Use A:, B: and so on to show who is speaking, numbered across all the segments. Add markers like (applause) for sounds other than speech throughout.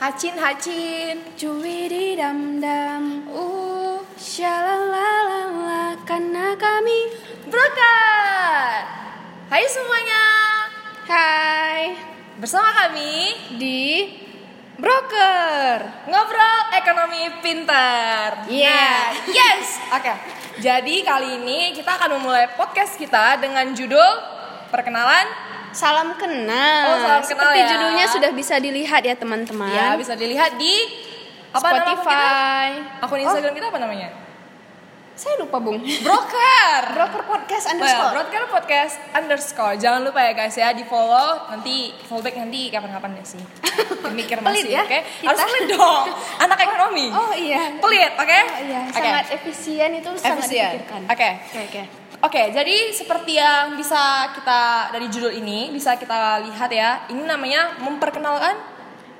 A: Hacin Hacin
B: Cuwi di dam dam,
A: Uh
B: Ya shalalalala karena kami.
A: Brokat Hai semuanya
B: Hai,
A: Bersama kami
B: di broker.
A: Ngobrol Ekonomi Pintar
B: Yeah.
A: Nah, Yes Oke Jadi kali ini kita akan memulai podcast kita dengan judul Perkenalan
B: Salam kenal.
A: Oh, salam kenal
B: Seperti
A: ya.
B: judulnya sudah bisa dilihat ya teman-teman.
A: Ya bisa dilihat di apa nama akun
B: Spotify.
A: kita? Akun Instagram kita apa namanya?
B: Saya lupa bung.
A: Broker
B: Broker podcast
A: Well, broadcast podcast underscore. Jangan lupa ya guys ya di follow nanti fallback nanti kapan-kapan ya
B: (laughs)
A: sih. Mikir
B: Pelit
A: masih,
B: ya,
A: oke?
B: kita.
A: Harus pelit dong. Anak ekonomi.
B: Oh iya.
A: Pelit, oke?
B: Oh iya.
A: Oke.
B: Sangat efisien itu sangat
A: Efisien.
B: dipikirkan.
A: Oke.
B: Oke oke.
A: Oke, jadi seperti yang bisa kita dari judul ini bisa kita lihat ya. Ini namanya memperkenalkan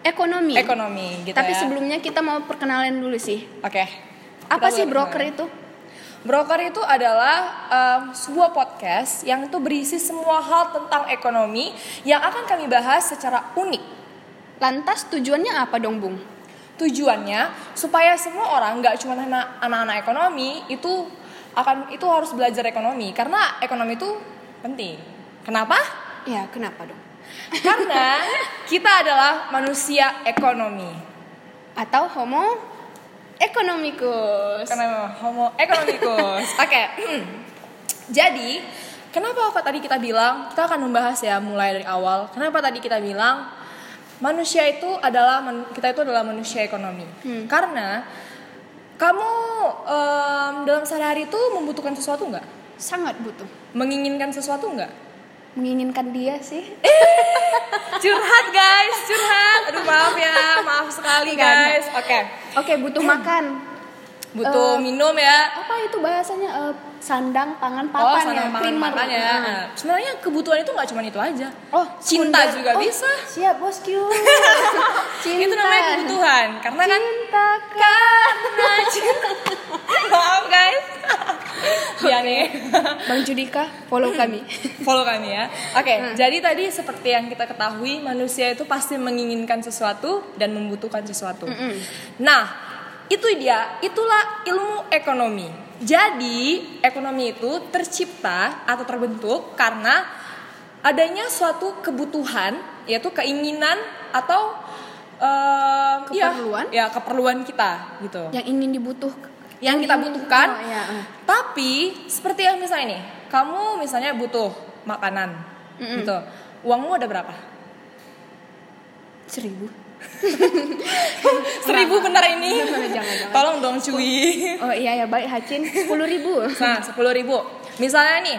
B: Ekonomi.
A: ekonomi gitu
B: Tapi
A: ya.
B: sebelumnya kita mau perkenalan dulu sih.
A: Oke.
B: Apa
A: Kita
B: sih
A: mulai
B: broker
A: perkenalan.
B: itu?
A: Broker itu adalah um, sebuah podcast yang itu berisi semua hal tentang ekonomi yang akan kami bahas secara unik.
B: Lantas tujuannya apa dong bung?
A: Tujuannya supaya semua orang nggak cuma anak- anak-anak ekonomi itu akan itu harus belajar ekonomi karena ekonomi itu penting. Kenapa?
B: Ya kenapa dong?
A: Karena kita adalah manusia ekonomi.
B: Atau homo economicus?
A: Karena homo ekonomikus. (laughs) Oke. Jadi, kenapa kok tadi kita bilang kita akan membahas ya mulai dari awal. Kenapa tadi kita bilang manusia itu adalah man- kita itu adalah manusia ekonomi. Karena kamu em, dalam sehari-hari itu membutuhkan sesuatu nggak?
B: Sangat butuh.
A: Menginginkan sesuatu nggak?
B: Menginginkan dia sih.
A: Curhat guys, curhat. Aduh maaf ya, maaf sekali
B: Nggak, nggak.
A: guys. Oke,
B: Oke
A: (coughs)
B: butuh makan.
A: butuh minum ya.
B: Apa itu bahasanya? Eh, sandang, pangan, papan
A: Oh,
B: ya?
A: sana pangan
B: Primer.
A: makan ya.
B: Nah.
A: Sebenarnya kebutuhan itu nggak cuma itu aja.
B: Oh,
A: Cinta
B: sekunder.
A: juga
B: Oh,
A: bisa.
B: Siap bosku. Cinta.
A: (laughs) Itu namanya kebutuhan. Karena kan
B: Cinta.
A: karena cinta. (laughs) Maaf guys. Ya
B: (laughs)
A: nih.
B: Bang Judika, follow
A: Hmm.
B: kami.
A: Follow kami ya. Oke,
B: Hmm.
A: jadi tadi seperti yang kita ketahui manusia itu pasti menginginkan sesuatu dan membutuhkan sesuatu.
B: Hmm,
A: Nah, itu dia. Itulah ilmu ekonomi. Jadi, ekonomi itu tercipta atau terbentuk karena adanya suatu kebutuhan yaitu keinginan atau eh, iya,
B: Keperluan?
A: ya, keperluan kita gitu
B: Yang ingin dibutuhkan.
A: yang kita butuhkan.
B: Oh, iya.
A: Tapi seperti yang misalnya nih, kamu misalnya butuh makanan, gitu. Uangmu ada berapa?
B: Seribu.
A: Seribu benar ini.
B: (laughs) Jangan, jangan.
A: Tolong dong
B: (laughs)
A: cuy.
B: Oh iya ya baik Hacin. Sepuluh ribu.
A: (laughs) Nah, sepuluh ribu. Misalnya nih,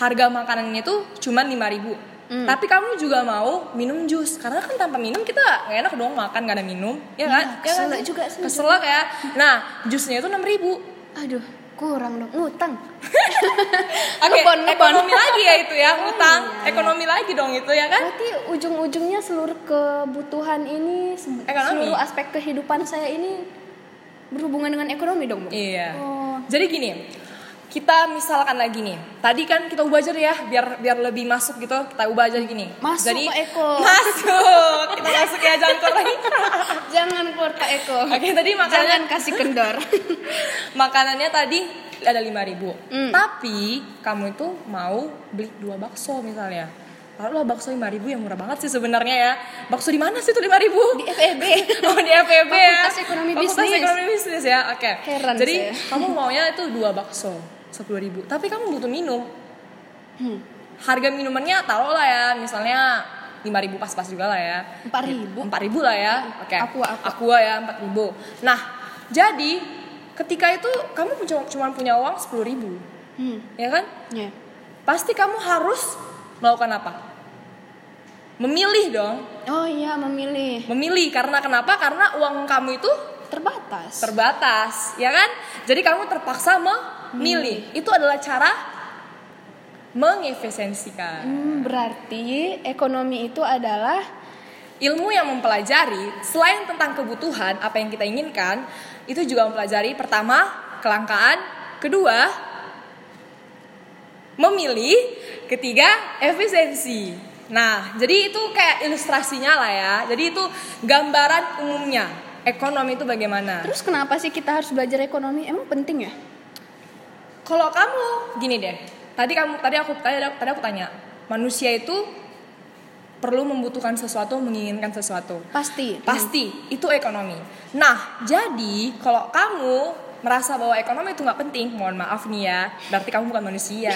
A: harga makanannya tuh cuman lima ribu.
B: Mm.
A: Tapi kamu juga mau minum jus karena kan tanpa minum kita nggak enak dong makan gak ada minum, ya kan?
B: Iya, keselak
A: ya kan?
B: juga sih.
A: Keselak ya. Nah, jusnya itu enam ribu.
B: Aduh, kurang dong. Ngutang.
A: Oke,
B: Ngebon, ngebon.
A: ekonomi lagi ya itu
B: (laughs)
A: ya,
B: Oh,
A: utang,
B: iya.
A: ekonomi lagi dong itu ya kan?
B: Berarti ujung-ujungnya seluruh kebutuhan ini, se-
A: Ekonomi.
B: seluruh aspek kehidupan saya ini berhubungan dengan ekonomi dong, Bu.
A: Iya.
B: Oh.
A: Jadi gini, kita misalkan lagi nih. Tadi kan kita ubah aja deh ya, biar biar lebih masuk gitu. Kita ubah aja gini.
B: Masuk,
A: Jadi,
B: Pak Eko.
A: (laughs) Masuk. Kita masuk ya jangan keluar lagi.
B: Jangan keluar Pak Eko.
A: Oke, tadi makanan
B: Jangan kasih
A: (laughs)
B: kendor.
A: makanannya tadi ada 5000.
B: Hmm.
A: Tapi kamu itu mau beli dua bakso misalnya. Taruhlah bakso 5000 yang murah banget sih sebenarnya ya. Bakso di mana sih itu 5000?
B: Di FEB.
A: (laughs) Oh di FEB ya.
B: Fakultas Ekonomi Bisnis.
A: Ekonomi Bisnis ya. Oke.
B: Heran
A: Jadi
B: saya.
A: kamu maunya itu dua bakso sepuluh ribu. Tapi kamu butuh minum.
B: Hmm,
A: Harga minumannya taruhlah ya misalnya lima ribu pas-pas juga lah ya.
B: 4000.
A: Empat ribu lah ya. Oke.
B: Aqua, aqua.
A: ya empat ribu. Nah jadi ketika itu kamu cuma- cuma punya uang sepuluh ribu,
B: Hmm.
A: ya kan?
B: Ya.
A: Pasti kamu harus melakukan apa? Memilih dong,
B: Oh iya, memilih.
A: memilih karena kenapa? Karena uang kamu itu
B: Terbatas.
A: terbatas, ya kan? Jadi kamu terpaksa memilih.
B: Hmm.
A: Itu adalah cara mengefisiensikan.
B: Hmm, berarti ekonomi itu adalah
A: Ilmu yang mempelajari selain tentang kebutuhan apa yang kita inginkan, itu juga mempelajari pertama kelangkaan, kedua memilih, ketiga efisiensi. Nah, jadi itu kayak ilustrasinya lah ya. Jadi itu gambaran umumnya ekonomi itu bagaimana.
B: Terus kenapa sih kita harus belajar ekonomi? Emang penting ya?
A: Kalau kamu gini deh. Tadi kamu tadi aku tadi, tadi aku tanya, manusia itu perlu membutuhkan sesuatu, menginginkan sesuatu.
B: Pasti.
A: Pasti itu ekonomi. Nah, jadi kalau kamu merasa bahwa ekonomi itu nggak penting, mohon maaf nih ya, berarti kamu bukan
B: (laughs)
A: manusia.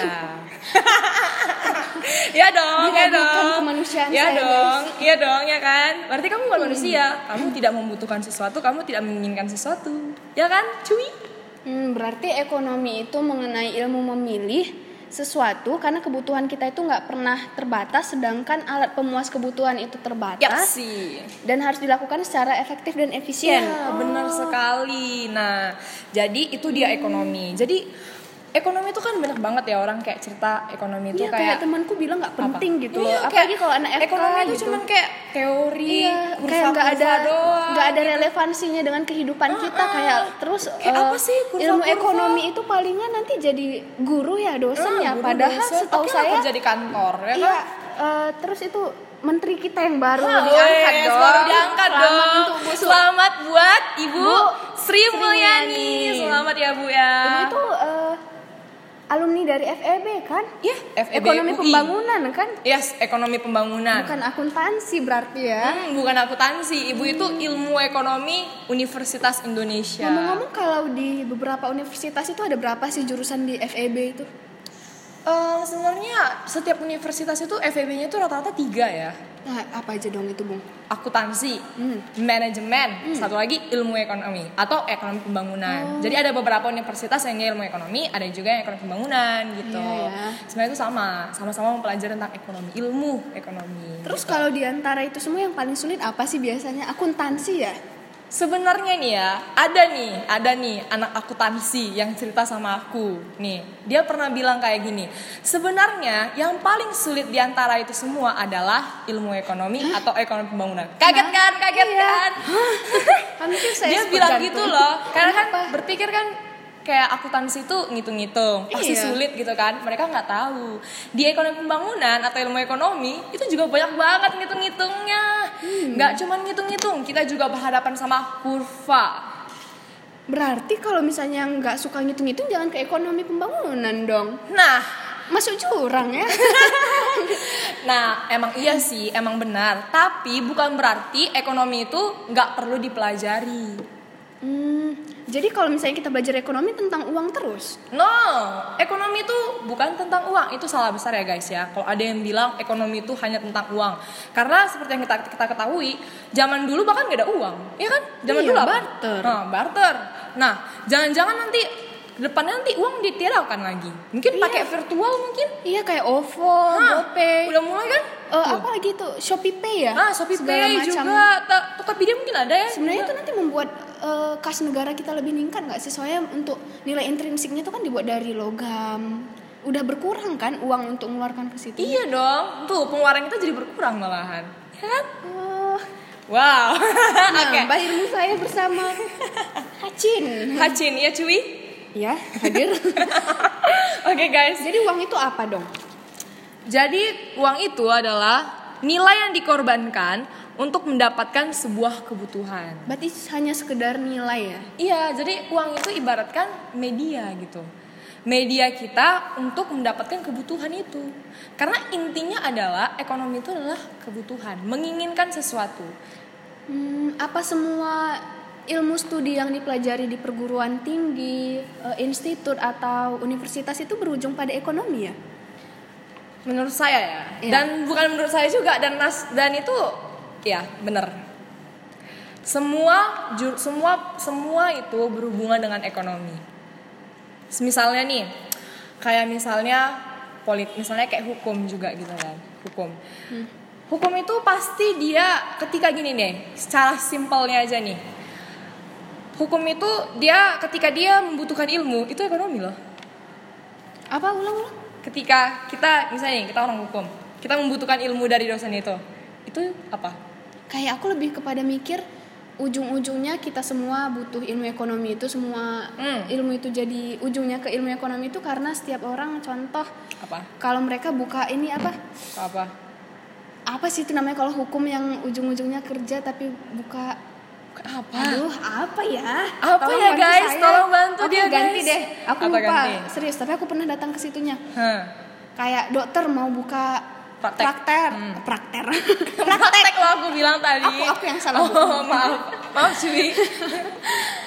A: ya dong, ya
B: Diragukan
A: dong,
B: kemanusiaan
A: ya
B: saya, Hmm.
A: dong, iya dong, ya kan. Berarti kamu bukan manusia, kamu tidak membutuhkan sesuatu, kamu tidak menginginkan sesuatu, ya kan, cuy?
B: Hmm, berarti ekonomi itu mengenai ilmu memilih sesuatu karena kebutuhan kita itu nggak pernah terbatas, sedangkan alat pemuas kebutuhan itu terbatas
A: sih.
B: dan harus dilakukan secara efektif dan
A: Ah,
B: efisien.
A: Iya, benar sekali. Nah, jadi itu dia ekonomi. Jadi ekonomi itu kan banyak banget ya orang kayak cerita ekonomi itu
B: Iya, kayak
A: kayak
B: temanku bilang nggak penting
A: apa?
B: gitu.
A: Iya,
B: Apalagi
A: kayak
B: kalau anak FK
A: ekonomi itu
B: gitu.
A: cuman kayak teori,
B: Iya,
A: kurva-kurva
B: kayak nggak ada
A: doang. gitu. Ah,
B: nggak ada relevansinya dengan kehidupan kita kayak terus
A: Kayak
B: eh,
A: apa sih kurva-kurva?
B: ilmu ekonomi itu palingan nanti jadi guru ya
A: Ah,
B: dosen ya
A: guru
B: padahal
A: dosen,
B: setahu
A: oke lah
B: saya
A: kerja di kantor ya kan?
B: iya eh, terus itu menteri kita yang baru
A: Ah,
B: Iya, diangkat
A: wes,
B: dong
A: baru diangkat
B: Selamat
A: dong.
B: untuk Bu Su-
A: Selamat buat Ibu
B: Bu
A: Sri
B: Sri
A: Mulyani.
B: Mulyani.
A: Selamat ya Bu ya.
B: Ibu itu eh, alumni dari FEB kan
A: Iya, FEB
B: ekonomi
A: UI.
B: pembangunan kan
A: Yes, ekonomi pembangunan.
B: bukan akuntansi berarti ya
A: Hmm, bukan akuntansi, ibu itu ilmu ekonomi Universitas Indonesia.
B: Ngomong-ngomong kalau di beberapa universitas itu ada berapa sih jurusan di FEB itu?
A: Eh, sebenarnya setiap universitas itu FEB-nya itu rata-rata tiga ya.
B: Nah, apa aja dong itu, Bung?
A: Akuntansi,
B: Hmm.
A: manajemen, satu lagi ilmu ekonomi atau ekonomi
B: Oh.
A: pembangunan. Jadi ada beberapa universitas yang dia ilmu ekonomi, ada juga yang ekonomi pembangunan gitu.
B: Iya, ya.
A: Sebenarnya itu sama, sama-sama mempelajari tentang ekonomi, ilmu ekonomi.
B: Terus kalau di antara itu semua yang paling sulit apa sih biasanya? Akuntansi ya?
A: Sebenarnya nih ya, ada nih, ada nih anak akuntansi yang cerita sama aku. Nih, dia pernah bilang kayak gini. Sebenarnya yang paling sulit di antara itu semua adalah ilmu ekonomi atau ekonomi pembangunan. Kaget kan? Kaget
B: Iya.
A: kan?
B: Kan mungkin saya
A: Dia
B: sebut
A: bilang
B: jantung.
A: gitu loh. Karena kan
B: Kenapa?
A: berpikir kan kayak akuntansi itu ngitung-ngitung pasti
B: Iya.
A: sulit gitu kan mereka nggak tahu di ekonomi pembangunan atau ilmu ekonomi itu juga banyak banget ngitung-ngitungnya
B: Hmm.
A: nggak cuman ngitung-ngitung kita juga berhadapan sama kurva
B: berarti kalau misalnya nggak suka ngitung-ngitung jangan ke ekonomi pembangunan dong.
A: Nah,
B: Masuk jurang
A: (laughs)
B: ya.
A: nah emang iya sih, emang benar. Tapi bukan berarti ekonomi itu nggak perlu dipelajari.
B: Hmm, jadi kalau misalnya kita belajar ekonomi tentang uang terus.
A: No, ekonomi itu bukan tentang uang. Itu salah besar ya guys ya. Kalau ada yang bilang ekonomi itu hanya tentang uang. Karena seperti yang kita kita ketahui, zaman dulu bahkan nggak ada uang, ya kan? Zaman
B: Iya,
A: dulu apa?
B: barter.
A: Nah, barter. Nah, jangan-jangan nanti depannya nanti uang ditiadakan lagi. Mungkin pakai virtual mungkin.
B: Iya kayak OVO,
A: Hah,
B: GoPay.
A: Udah mulai kan?
B: Eh, apa lagi itu? Shopee Pay ya?
A: Ah, Shopee
B: Segala
A: Pay
B: macam.
A: juga, Ta- Tokopedia mungkin ada ya?
B: Sebenarnya itu nanti membuat eh, kas negara kita lebih meningkat nggak sih? Soalnya untuk nilai intrinsiknya itu kan dibuat dari logam. Udah berkurang kan uang untuk mengeluarkan ke situ?
A: Iya dong, tuh pengeluaran kita jadi berkurang malahan, ya kan?
B: Oh,
A: Wow, (laughs) Ah, oke.
B: nambah ilmu saya
A: (laughs)
B: bersama Hacin.
A: Hacin, ya cuy. (laughs)
B: Ya, (laughs) hadir.
A: Oke guys,
B: Jadi uang itu apa dong?
A: jadi uang itu adalah nilai yang dikorbankan untuk mendapatkan sebuah kebutuhan.
B: Berarti hanya sekedar nilai ya?
A: Iya, jadi uang itu ibaratkan media gitu. Media kita untuk mendapatkan kebutuhan itu. Karena intinya adalah ekonomi itu adalah kebutuhan, menginginkan sesuatu.
B: Hmm, apa semua ilmu studi yang dipelajari di perguruan tinggi, eh, institut atau universitas itu berujung pada ekonomi ya?
A: menurut saya ya
B: Iya.
A: dan bukan menurut saya juga dan nas dan itu ya bener semua ju- semua semua itu berhubungan dengan ekonomi misalnya nih kayak misalnya polit misalnya kayak hukum juga gitu kan hukum hukum itu pasti dia ketika gini deh secara simpelnya aja nih hukum itu dia ketika dia membutuhkan ilmu itu ekonomi loh
B: Apa ulang-ulang?
A: ketika kita misalnya nih, kita orang hukum kita membutuhkan ilmu dari dosen itu itu apa
B: kayak aku lebih kepada mikir ujung-ujungnya kita semua butuh ilmu ekonomi itu semua
A: Hmm.
B: ilmu itu jadi ujungnya ke ilmu ekonomi itu karena setiap orang contoh
A: apa
B: kalau mereka buka ini apa
A: apa
B: apa sih itu namanya kalau hukum yang ujung-ujungnya kerja tapi buka
A: Apa?
B: aduh apa ya
A: Apa ya,
B: bantu
A: guys? Tolong bantu
B: aku
A: dia,
B: ganti
A: guys.
B: deh aku
A: Apa
B: lupa
A: ganti?
B: serius tapi aku pernah datang ke situnya
A: Hah.
B: kayak dokter mau buka
A: Praktek. Hmm.
B: prakter prakter
A: (laughs)
B: praktek
A: Praktek lo aku bilang tadi.
B: Aku- aku yang salah.
A: Oh, maaf. Maaf,
B: (laughs)
A: cuy.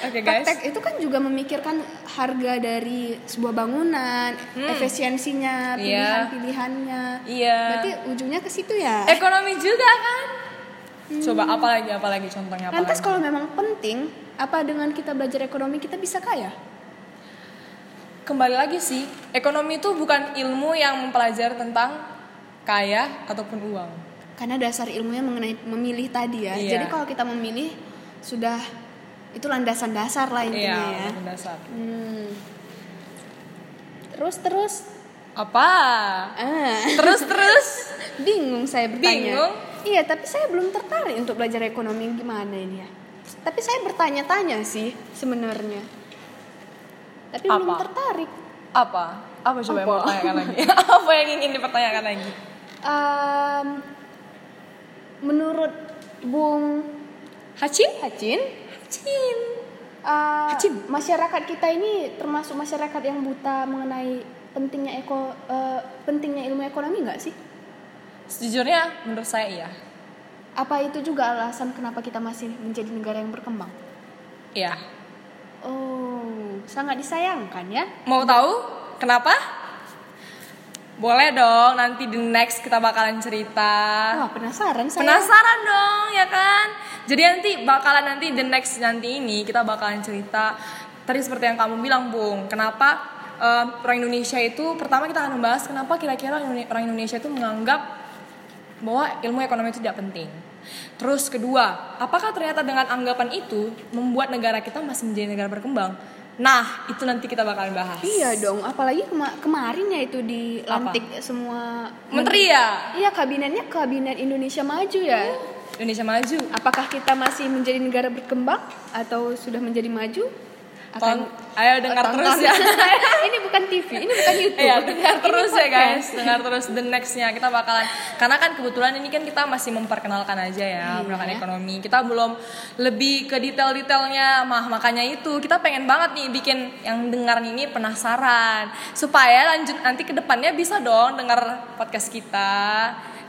A: Oke, guys.
B: praktek itu kan juga memikirkan harga dari sebuah bangunan efisiensinya
A: Hmm. Iya.
B: pilihan-pilihannya
A: Iya. Eh,
B: berarti ujungnya ke situ ya
A: Ekonomi juga kan? Coba apa lagi? Apa lagi contohnya apa?
B: lantas
A: lagi?
B: kalau memang penting apa dengan kita belajar ekonomi kita bisa kaya
A: Kembali lagi sih, ekonomi itu bukan ilmu yang mempelajari tentang kaya ataupun uang.
B: karena dasar ilmunya mengenai memilih tadi ya
A: Iya.
B: jadi kalau kita memilih sudah itu landasan dasar lah intinya
A: Iya,
B: ya
A: dasar.
B: Hmm. terus terus
A: Apa?
B: ah.
A: Terus terus.
B: (laughs) Bingung saya bertanya.
A: Bingung?
B: Iya, tapi saya belum tertarik untuk belajar ekonomi gimana ini ya. Tapi saya bertanya-tanya sih sebenarnya. Tapi belum
A: Apa?
B: tertarik.
A: Apa? Apa coba yang
B: Apa?
A: mau tanyakan lagi? apa yang ingin dipertanyakan lagi?
B: Em, menurut Bung
A: Hacin?
B: Hacin,
A: Hacin.
B: eh,
A: Hacin.
B: masyarakat kita ini termasuk masyarakat yang buta mengenai pentingnya eko eh, pentingnya ilmu ekonomi nggak sih?
A: Sejujurnya menurut saya iya.
B: Apa itu juga alasan kenapa kita masih menjadi negara yang berkembang?
A: Iya.
B: Oh, sangat disayangkan ya.
A: Mau tahu kenapa? Boleh dong, nanti di next kita bakalan cerita.
B: Wah, penasaran saya.
A: Penasaran dong ya kan? Jadi nanti bakalan nanti the next nanti ini kita bakalan cerita tadi seperti yang kamu bilang Bung, kenapa eh, orang Indonesia itu pertama kita akan membahas kenapa kira-kira Indone- orang Indonesia itu menganggap bahwa ilmu ekonomi itu tidak penting. Terus kedua, apakah ternyata dengan anggapan itu membuat negara kita masih menjadi negara berkembang? Nah, itu nanti kita bakalan bahas.
B: Iya dong, apalagi kema- kemarin ya itu dilantik semua
A: Menteri ya
B: Iya, kabinetnya kabinet Indonesia Maju ya.
A: Indonesia Maju.
B: Apakah kita masih menjadi negara berkembang atau sudah menjadi maju?
A: Ton- ayo dengar
B: tonton.
A: terus ya.
B: (laughs) ini bukan TV, ini bukan YouTube.
A: Iya, dengar
B: Gitu. Ini
A: terus ya
B: podcast.
A: guys, dengar terus the nextnya kita bakalan karena kan kebetulan ini kan kita masih memperkenalkan aja ya
B: Iya.
A: perkenalkan ekonomi. Kita belum lebih ke detail-detailnya, mah makanya itu kita pengen banget nih bikin yang dengar ini penasaran supaya lanjut nanti ke depannya bisa dong dengar podcast kita.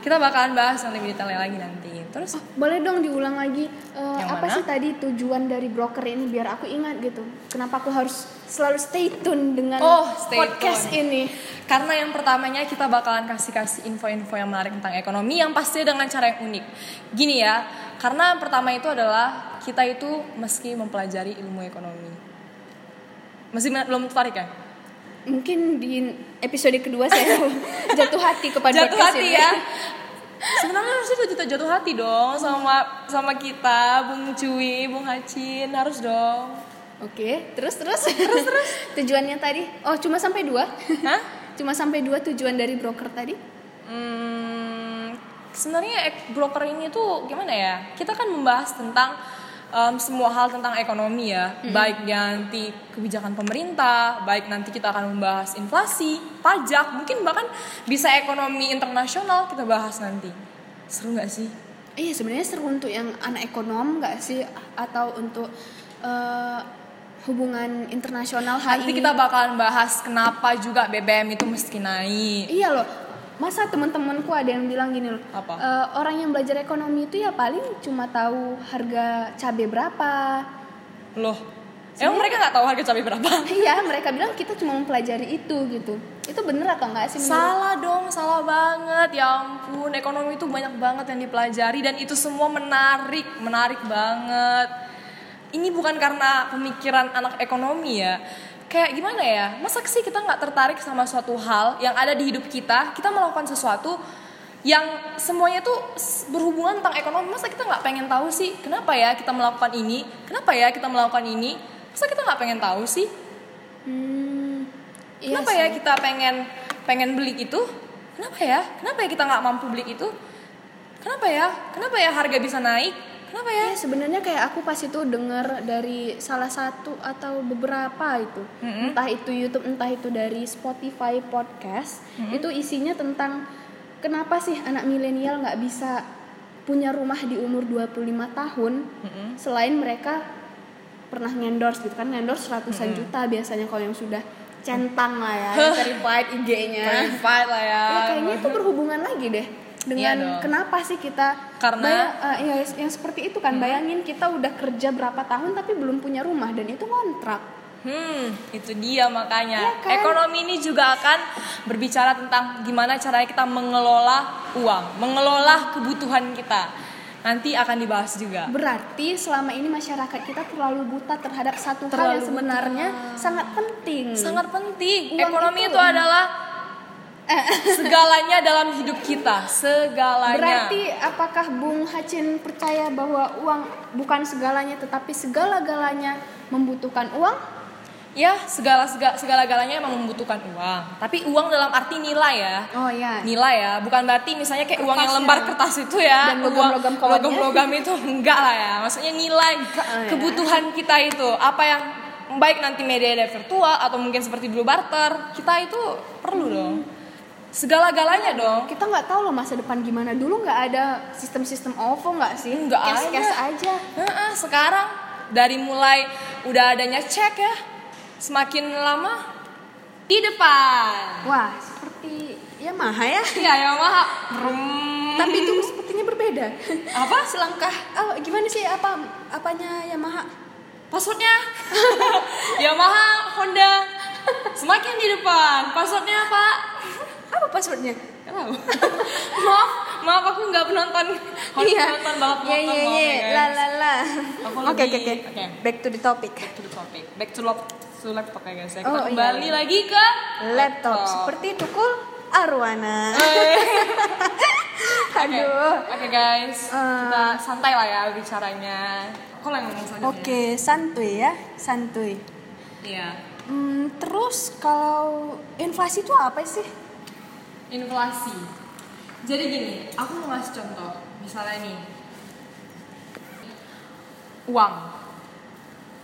A: Kita bakalan bahas yang lebih detailnya lagi nanti. Terus
B: Boleh dong diulang lagi eh,
A: Yang
B: apa
A: mana?
B: sih tadi tujuan dari broker ini biar aku ingat gitu. Kenapa aku harus selalu stay tune dengan
A: Oh, stay
B: podcast ini?
A: Karena yang pertamanya kita bakalan kasih-kasih info-info yang menarik tentang ekonomi yang pasti dengan cara yang unik. Gini ya, karena pertama itu adalah kita itu meski mempelajari ilmu ekonomi. Masih men- belum tertarik ya?
B: Mungkin di episode kedua saya
A: (laughs)
B: jatuh hati kepada
A: jatuh
B: podcast
A: hati
B: ini.
A: ya. (laughs) Sebenarnya harusnya tuh jatuh, jatuh hati dong sama sama kita, Bung Cui, Bung Hacin, harus dong.
B: Oke, terus terus terus terus. (laughs) Tujuannya tadi, oh cuma sampai dua,
A: Hah?
B: cuma sampai dua tujuan dari broker tadi.
A: Hmm, sebenarnya ek- broker ini tuh gimana ya? Kita kan membahas tentang em, semua hal tentang ekonomi ya, baik nanti kebijakan pemerintah, baik nanti kita akan membahas inflasi, pajak, mungkin bahkan bisa ekonomi internasional kita bahas nanti. Seru nggak sih?
B: Iya sebenarnya seru untuk yang anak ekonom nggak sih atau untuk eh, hubungan internasional hari
A: Nanti kita bakalan bahas kenapa juga BBM itu mesti naik.
B: Iya loh. Masa teman-temanku ada yang bilang gini loh.
A: Apa?
B: "Eh, orang yang belajar ekonomi itu ya paling cuma tahu harga cabai berapa. (laughs)
A: Loh, emang mereka nggak tahu harga cabai berapa?
B: Iya, mereka bilang kita cuma mempelajari itu gitu. Itu bener atau enggak sih menurut-
A: Salah dong, salah banget. Ya ampun, ekonomi itu banyak banget yang dipelajari dan itu semua menarik, menarik banget. Ini bukan karena pemikiran anak ekonomi ya. Kayak gimana ya? Masa sih kita nggak tertarik sama suatu hal yang ada di hidup kita? Kita melakukan sesuatu yang semuanya tuh s- berhubungan tentang ekonomi. Masa kita nggak pengen tahu sih? Kenapa ya kita melakukan ini? Kenapa ya kita melakukan ini? Masa kita nggak pengen tahu sih?
B: Hmm, iya
A: kenapa
B: sih.
A: ya kita pengen pengen beli itu kenapa ya kenapa ya kita nggak mampu beli itu kenapa ya kenapa ya harga bisa naik kenapa ya
B: Iya, sebenarnya kayak aku pas itu dengar dari salah satu atau beberapa itu, entah itu YouTube, entah itu dari Spotify podcast, itu isinya tentang kenapa sih anak milenial nggak bisa punya rumah di umur 25 tahun
A: Mm-mm.
B: selain mereka pernah ngendorse gitu kan ngendorse ratusan juta biasanya kalau yang sudah centang lah
A: (laughs)
B: ya yang verified IG-nya
A: Verified lah ya.
B: ya, Iya. kayaknya itu berhubungan lagi deh dengan
A: Iya dong.
B: kenapa sih kita
A: Karena- Hmm.
B: baya- eh, ya, yang seperti itu kan bayangin kita udah kerja berapa tahun tapi belum punya rumah dan itu kontrak
A: Hmm, itu dia makanya.
B: Iya kan?
A: Ekonomi ini juga akan berbicara tentang gimana caranya kita mengelola uang, mengelola kebutuhan kita. Nanti akan dibahas juga.
B: Hmm. berarti selama ini masyarakat kita terlalu buta terhadap satu hal
A: Terlalu
B: yang sebenarnya sangat penting
A: Sangat penting.
B: Uang
A: Ekonomi
B: itu.
A: itu, adalah
B: (laughs)
A: segalanya dalam hidup kita, segalanya.
B: berarti apakah Bung Hacin percaya bahwa uang bukan segalanya tetapi segala-galanya membutuhkan uang
A: ya segala segala segala galanya emang membutuhkan uang. Tapi uang dalam arti nilai ya.
B: oh ya
A: nilai ya bukan berarti misalnya kayak uang yang
B: Kertasnya.
A: lembar kertas itu ya
B: Dan logam-logam kawannya.
A: logam itu (laughs) enggak lah ya maksudnya
B: (laughs)
A: nilai
B: lah ya.
A: kebutuhan kita itu apa yang baik nanti media ada virtual atau mungkin seperti dulu barter kita itu perlu dong
B: Hmm.
A: segala galanya dong
B: kita nggak tahu loh masa depan gimana dulu nggak ada sistem-sistem OVO nggak sih
A: Nggak
B: cash cash aja
A: Heeh, sekarang dari mulai udah adanya cek ya semakin lama di depan
B: wah seperti ya maha ya
A: (laughs) ya ya mah Brum.
B: tapi itu sepertinya berbeda (laughs)
A: apa
B: selangkah oh, gimana sih apa apanya Yamaha
A: Passwordnya (laughs) Yamaha, Honda Semakin di depan Passwordnya Pak
B: apa passwordnya
A: Nggak tahu. Maaf, (laughs) maaf aku nggak penonton Honda penonton banget penonton
B: iya iya
A: banget
B: iya
A: ya,
B: la
A: guys.
B: la la
A: Aku
B: oke oke
A: lagi-
B: oke
A: oke.
B: back to the topic
A: Back to the topic Back to, lap, to laptop ya guys ya. Kita
B: Oh, iya,
A: kembali
B: iya.
A: lagi ke
B: laptop seperti tukul
A: (laughs)
B: arwana
A: Oke.
B: aduh
A: Oke guys
B: Eh.
A: Kita santai lah ya bicaranya Aku yang ngomong selanjutnya
B: Oke, santuy ya, santuy.
A: Iya
B: Hmm, terus kalau inflasi itu apa sih?
A: Inflasi Jadi gini, aku mau ngasih contoh Misalnya nih Uang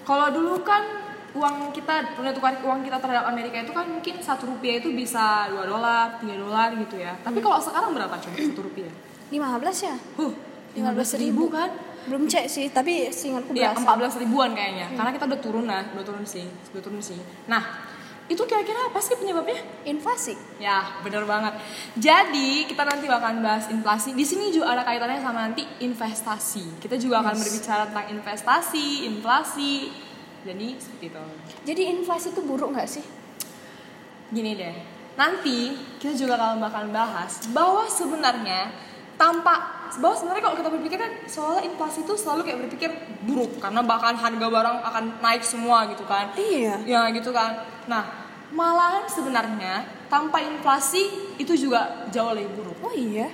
A: Kalau dulu kan uang kita nilai tukar uang kita terhadap Amerika itu kan mungkin satu rupiah itu bisa 2 dolar, 3 dolar gitu ya. Tapi kalau sekarang berapa coba satu rupiah?
B: 15 ya?
A: Huh,
B: 15.000
A: ribu kan?
B: Belum cek sih, tapi seingatku
A: Iya,
B: berasa.
A: 14 ribuan kayaknya. Karena kita udah turun lah, udah turun sih, udah turun sih. Nah, itu kira-kira apa sih penyebabnya?
B: Inflasi.
A: Ya, bener banget. Jadi, kita nanti bakalan bahas inflasi. Di sini juga ada kaitannya sama nanti investasi. Kita juga akan berbicara tentang investasi, inflasi. Jadi, seperti itu.
B: Jadi inflasi itu buruk nggak sih?
A: Gini deh. Nanti kita juga akan bakalan bahas bahwa sebenarnya tanpa bahwa sebenarnya kalau kita berpikir kan seolah inflasi itu selalu kayak berpikir buruk karena bahkan harga barang akan naik semua gitu kan.
B: Iya.
A: Ya gitu kan. Nah, malahan sebenarnya tanpa inflasi itu juga jauh lebih buruk.
B: Oh iya.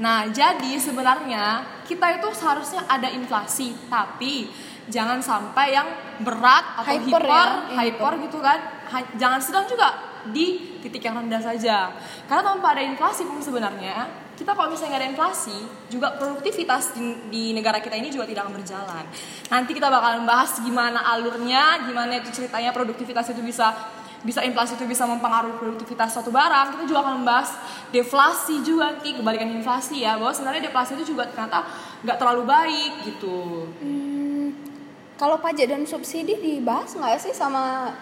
A: Nah, jadi sebenarnya kita itu seharusnya ada inflasi, tapi jangan sampai yang berat atau
B: Hyper
A: hyper,
B: ya,
A: hyper,
B: hyper.
A: gitu kan. Ha- jangan sedang juga di titik yang rendah saja. Karena tanpa ada inflasi pun sebenarnya kita kalau misalnya nggak ada inflasi, juga produktivitas di, di negara kita ini juga tidak akan berjalan. Nanti kita bakalan bahas gimana alurnya, gimana itu ceritanya produktivitas itu bisa bisa inflasi itu bisa mempengaruhi produktivitas suatu barang kita juga akan membahas deflasi juga ki kebalikan inflasi ya bahwa sebenarnya deflasi itu juga ternyata nggak terlalu baik gitu
B: Hmm, kalau pajak dan subsidi dibahas nggak sih sama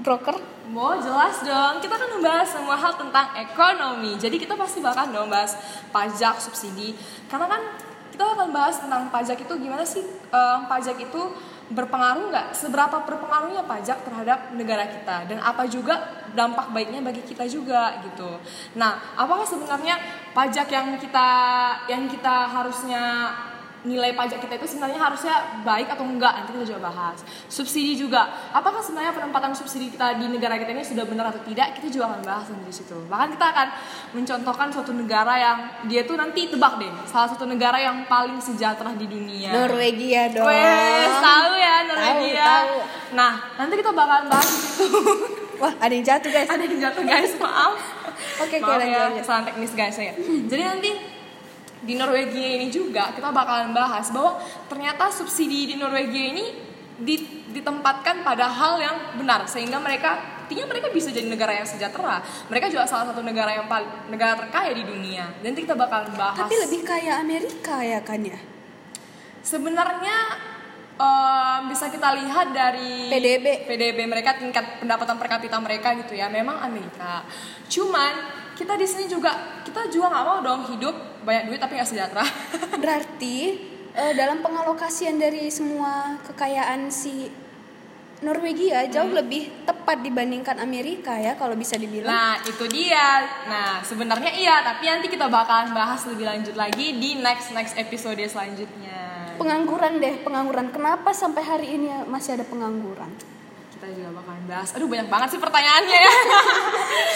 B: broker?
A: mau jelas dong kita kan membahas semua hal tentang ekonomi jadi kita pasti bakal dong bahas pajak subsidi karena kan kita akan bahas tentang pajak itu gimana sih eh, pajak itu berpengaruh nggak seberapa berpengaruhnya pajak terhadap negara kita dan apa juga dampak baiknya bagi kita juga gitu nah apakah sebenarnya pajak yang kita yang kita harusnya nilai pajak kita itu sebenarnya harusnya baik atau enggak nanti kita juga bahas subsidi juga apakah sebenarnya penempatan subsidi kita di negara kita ini sudah benar atau tidak kita juga akan bahas nanti di situ bahkan kita akan mencontohkan suatu negara yang dia tuh nanti tebak deh salah satu negara yang paling sejahtera di dunia
B: Norwegia dong.
A: Wes, tahu ya Norwegia
B: tahu.
A: nah nanti kita bakalan bahas di situ
B: Wah, ada yang jatuh guys.
A: ada yang jatuh guys maaf
B: Oke, oke,
A: Maaf
B: lanjut,
A: ya,
B: lanjut.
A: kesalahan teknis guys ya. Jadi nanti di Norwegia ini juga kita bakalan bahas bahwa ternyata subsidi di Norwegia ini di- ditempatkan pada hal yang benar sehingga mereka artinya mereka bisa jadi negara yang sejahtera mereka juga salah satu negara yang paling negara terkaya di dunia nanti kita bakal bahas
B: Tapi lebih kaya Amerika ya kan ya?
A: sebenarnya em, bisa kita lihat dari
B: PDB.
A: PDB mereka tingkat pendapatan per kapita mereka gitu ya memang Amerika cuman kita di sini juga kita juga nggak mau dong hidup banyak duit tapi nggak sejahtera (laughs)
B: Berarti eh, dalam pengalokasian dari semua kekayaan si Norwegia jauh lebih tepat dibandingkan Amerika ya kalau bisa dibilang.
A: Nah, itu dia. Nah, sebenarnya iya, tapi nanti kita bakalan bahas lebih lanjut lagi di next next episode selanjutnya.
B: Pengangguran deh, pengangguran. Kenapa sampai hari ini masih ada pengangguran?
A: Kita juga bakalan bahas. Aduh, banyak banget sih pertanyaannya (laughs) ya.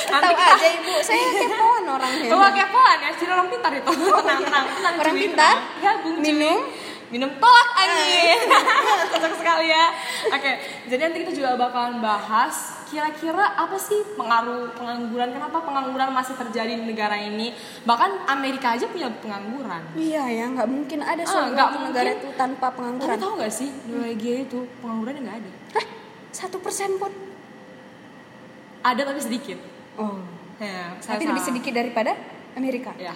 A: nanti
B: Tahu
A: kita
B: aja ibu, saya kepoan orangnya.
A: Wah, kepoan ya. Ciri orang pintar itu. tenang, tenang, tenang.
B: Oh, iya. Orang
A: cuy,
B: pintar,
A: tenang. Ya, Bung cuy.
B: minum. Eh.
A: Minum tolak angin. (laughs) Cocok sekali ya. Oke, jadi nanti kita juga bakalan bahas kira-kira apa sih pengaruh pengangguran. Kenapa pengangguran masih terjadi di negara ini? Bahkan Amerika aja punya pengangguran.
B: Iya ya, nggak mungkin ada
A: Ah,
B: suatu
A: nggak mungkin.
B: negara
A: Oh,
B: itu tanpa
A: Tapi
B: pengangguran. Hmm.
A: tahu gak sih Norwegia itu penganggurannya nggak ada.
B: Hah? Satu persen pun?
A: Ada tapi sedikit.
B: Oh,
A: Ya, saya
B: tapi
A: salah.
B: lebih sedikit Hmm. daripada Amerika.
A: Ya.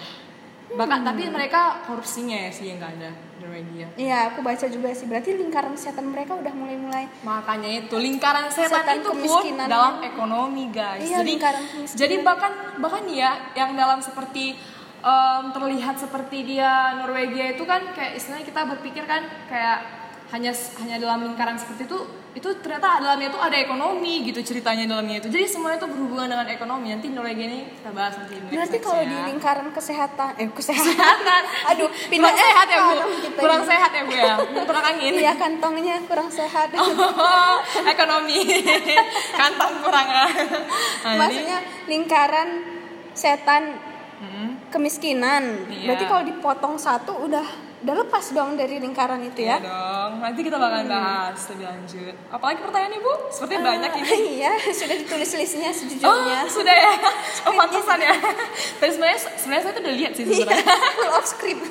A: Bahkan tapi mereka korupsinya ya sih yang nggak ada Norwegia.
B: Iya, aku baca juga sih. Berarti lingkaran kesehatan mereka udah mulai-mulai.
A: Makanya itu lingkaran setan,
B: Setan
A: itu pun
B: kemiskinan.
A: dalam ekonomi guys.
B: Iya,
A: jadi
B: lingkaran kemiskinan.
A: jadi bahkan bahkan ya yang dalam seperti em, terlihat seperti dia Norwegia itu kan kayak istilahnya kita berpikir kan kayak hanya hanya dalam lingkaran seperti itu itu ternyata dalamnya itu ada ekonomi gitu ceritanya dalamnya itu. Jadi semuanya itu berhubungan dengan ekonomi. Nanti Norwegia ini kita bahas nanti. next
B: Berarti
A: next
B: kalau
A: ya.
B: di lingkaran kesehatan, eh
A: (laughs)
B: kesehatan,
A: Kesehatan.
B: aduh, (laughs) pindah
A: kurang sehat ya bu,
B: kantong kita
A: kurang
B: ini.
A: sehat ya bu ya, kurang angin.
B: Iya kantongnya kurang sehat.
A: Oh, (laughs)
B: (laughs)
A: ekonomi kantong kurang ah. Nah, ini-
B: Maksudnya lingkaran setan
A: Mm-mm.
B: kemiskinan.
A: Iya.
B: Berarti kalau dipotong satu udah udah lepas dong dari lingkaran itu
A: Iya
B: ya.
A: dong nanti kita bakalan
B: Hmm.
A: bahas lebih lanjut apalagi pertanyaannya bu sepertinya kan banyak
B: (laughs)
A: ini
B: Iya, sudah ditulis listnya
A: oh
B: sejujurnya.
A: sudah ya oh pantesan ya tapi sebenarnya sebenarnya saya tuh udah lihat sih
B: (laughs) Iya,
A: sebenarnya
B: full of script.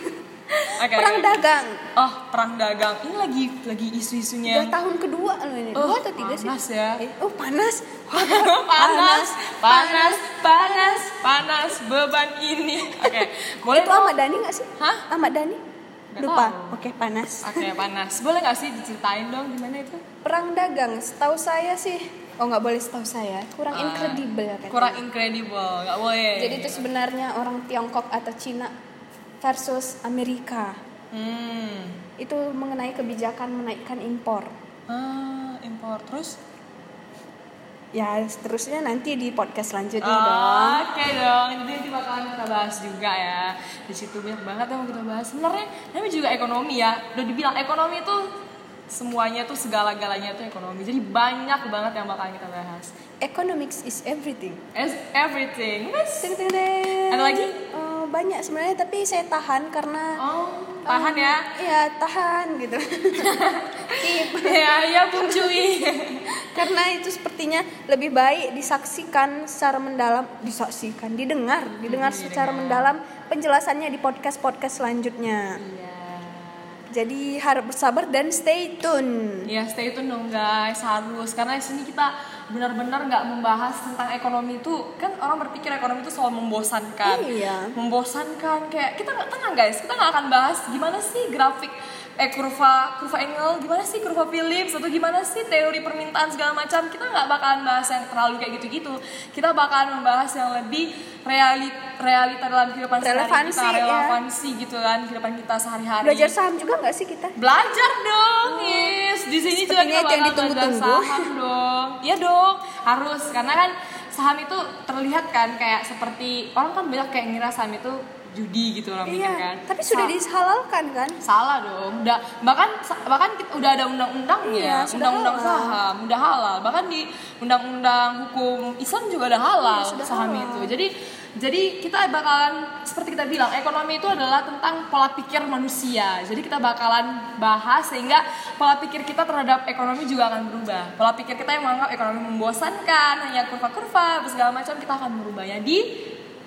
A: Oke,
B: Perang
A: oke.
B: dagang.
A: oh perang dagang ini lagi lagi
B: Udah
A: isu-isunya
B: tahun kedua loh
A: Iya.
B: ini.
A: Oh,
B: Dua atau tiga sih?
A: panas ya. (laughs)
B: Eh, oh, panas.
A: panas panas panas panas beban ini oke boleh
B: Itu Ahmad Dhani gak sih?
A: Hah?
B: Ahmad Dhani?
A: Nggak
B: Lupa.
A: tahu.
B: Oke, panas.
A: oke panas boleh nggak sih diceritain dong gimana itu
B: Perang dagang, setahu saya sih. Oh, nggak boleh setahu saya. Kurang
A: Ah,
B: incredible katanya.
A: kurang incredible nggak boleh
B: Jadi itu sebenarnya orang Tiongkok atau Cina versus Amerika.
A: hmm
B: Itu mengenai kebijakan menaikkan impor.
A: ah impor terus
B: Ya, seterusnya nanti di podcast selanjutnya dong.
A: Ah, Oke dong, jadi nanti bakalan kita bahas juga ya. Di situ banyak banget yang mau kita bahas. Sebenarnya tapi juga ekonomi ya. Udah dibilang ekonomi itu semuanya tuh segala-galanya tuh ekonomi. Jadi banyak banget yang bakalan kita bahas.
B: Economics is everything.
A: As everything. Yes.
B: Deng, deng, deng.
A: Ada lagi?
B: Eh, banyak sebenarnya tapi saya tahan karena
A: Oh, tahan ya.
B: Eh, Iya, tahan gitu.
A: (laughs)
B: Keep.
A: ya, ya Bung Cuy.
B: Karena itu sepertinya lebih baik disaksikan secara mendalam, disaksikan, didengar, didengar
A: Iya,
B: secara mendalam penjelasannya di podcast-podcast selanjutnya.
A: Iya.
B: Jadi harap bersabar dan stay tune.
A: Ya stay tune dong guys, harus karena di sini kita benar-benar nggak membahas tentang ekonomi itu kan orang berpikir ekonomi itu soal membosankan,
B: Iya.
A: membosankan kayak kita nggak tenang guys, kita nggak akan bahas gimana sih grafik eh kurva kurva Engel, gimana sih kurva Phillips atau gimana sih teori permintaan segala macam kita nggak bakalan bahas yang terlalu kayak gitu-gitu, kita bakalan membahas yang lebih reali, realita dalam kehidupan sehari
B: Relevansi,
A: kita,
B: ya.
A: relevansi gitu kan kehidupan kita sehari-hari
B: Belajar saham juga nggak sih kita?
A: belajar dong Is di sini juga kita
B: Oh. Sepertinya itu yang
A: bakal belajar
B: ditunggu-tunggu.
A: saham dong iya dong harus karena kan saham itu terlihat kan kayak seperti orang kan banyak kayak ngira saham itu judi gitu orang
B: Iya.
A: mikir kan
B: Tapi sudah
A: Sa-
B: dihalalkan kan?
A: salah dong udah bahkan bahkan kita- udah ada
B: Iya,
A: undang-undangnya
B: sudah
A: undang-undang
B: halal.
A: saham udah halal bahkan di undang-undang hukum Islam juga ada halal
B: Iya, sudah
A: saham
B: halal.
A: itu jadi jadi kita bakalan seperti kita bilang ekonomi itu adalah tentang pola pikir manusia jadi kita bakalan bahas sehingga pola pikir kita terhadap ekonomi juga akan berubah pola pikir kita yang menganggap ekonomi membosankan hanya kurva-kurva segala macam kita akan merubahnya di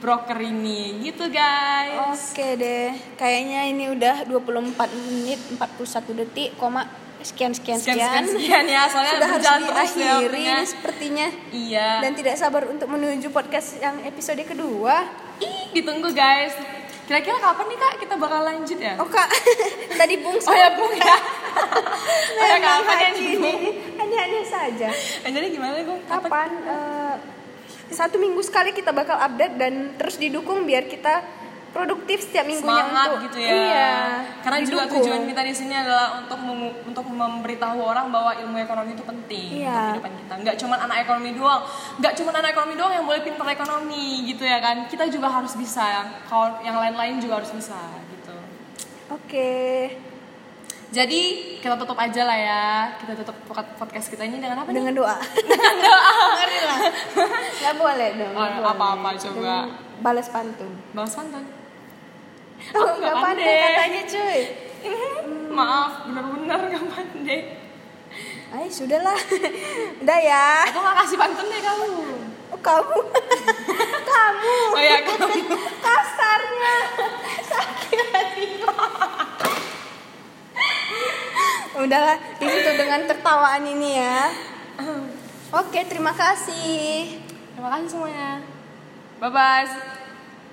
A: broker ini gitu guys
B: Oke deh, kayaknya ini udah 24 menit 41 detik, koma
C: sekian sekian sekian,
A: sekian sekian sekian ya soalnya
B: sudah harus
A: berjalan terus ya
B: diakhiri
A: waktunya.
B: ini sepertinya
A: iya
B: dan tidak sabar untuk menuju podcast yang episode kedua.
A: Ih, ditunggu guys kira-kira kapan nih kak kita bakal lanjut ya
B: Oh kak, (laughs) tadi bung
A: Oh ya Bung ya. oh ya
B: memang
A: kapan ya
B: hati
A: nih
B: ini
A: Bung?
B: hanya-hanya saja.
A: Jadi gimana Bung? Kapan?
B: Kapan? eh, satu minggu sekali kita bakal update dan terus didukung biar kita produktif setiap minggunya
A: Semangat
B: untuk
A: gitu ya.
B: Iya.
A: Karena juga
B: didukung.
A: tujuan kita di sini adalah untuk mem- untuk memberitahu orang bahwa ilmu ekonomi itu penting
B: Iya.
A: untuk kehidupan kita. Nggak cuma anak ekonomi doang, nggak cuma anak ekonomi doang yang boleh pintar ekonomi gitu ya kan. Kita juga harus bisa yang kawan- yang lain-lain juga harus bisa gitu.
B: Oke.
A: Jadi kita tutup aja lah ya. Kita tutup pod- podcast kita ini dengan apa nih?
B: Dengan doa.
A: Dengan doa.
B: Gak boleh dong.
A: Oh,
B: nggak boleh.
A: apa-apa coba.
B: Dengan Balas pantun.
A: Balas pantun.
B: Oh,
A: Aku nggak
B: (laughs) nggak pandai.
A: pandai.
B: katanya cuy.
A: Maaf, benar-benar nggak pandai.
B: Ay, sudahlah. (laughs) Udah ya.
A: Aku nggak kasih pantun deh kamu.
B: Oh, kamu. (laughs) kamu.
A: Oh ya kamu.
B: kasarnya sakit hati udahlah ditutup dengan tertawaan ini ya oke terima kasih
A: Terima kasih semuanya. Bye bye.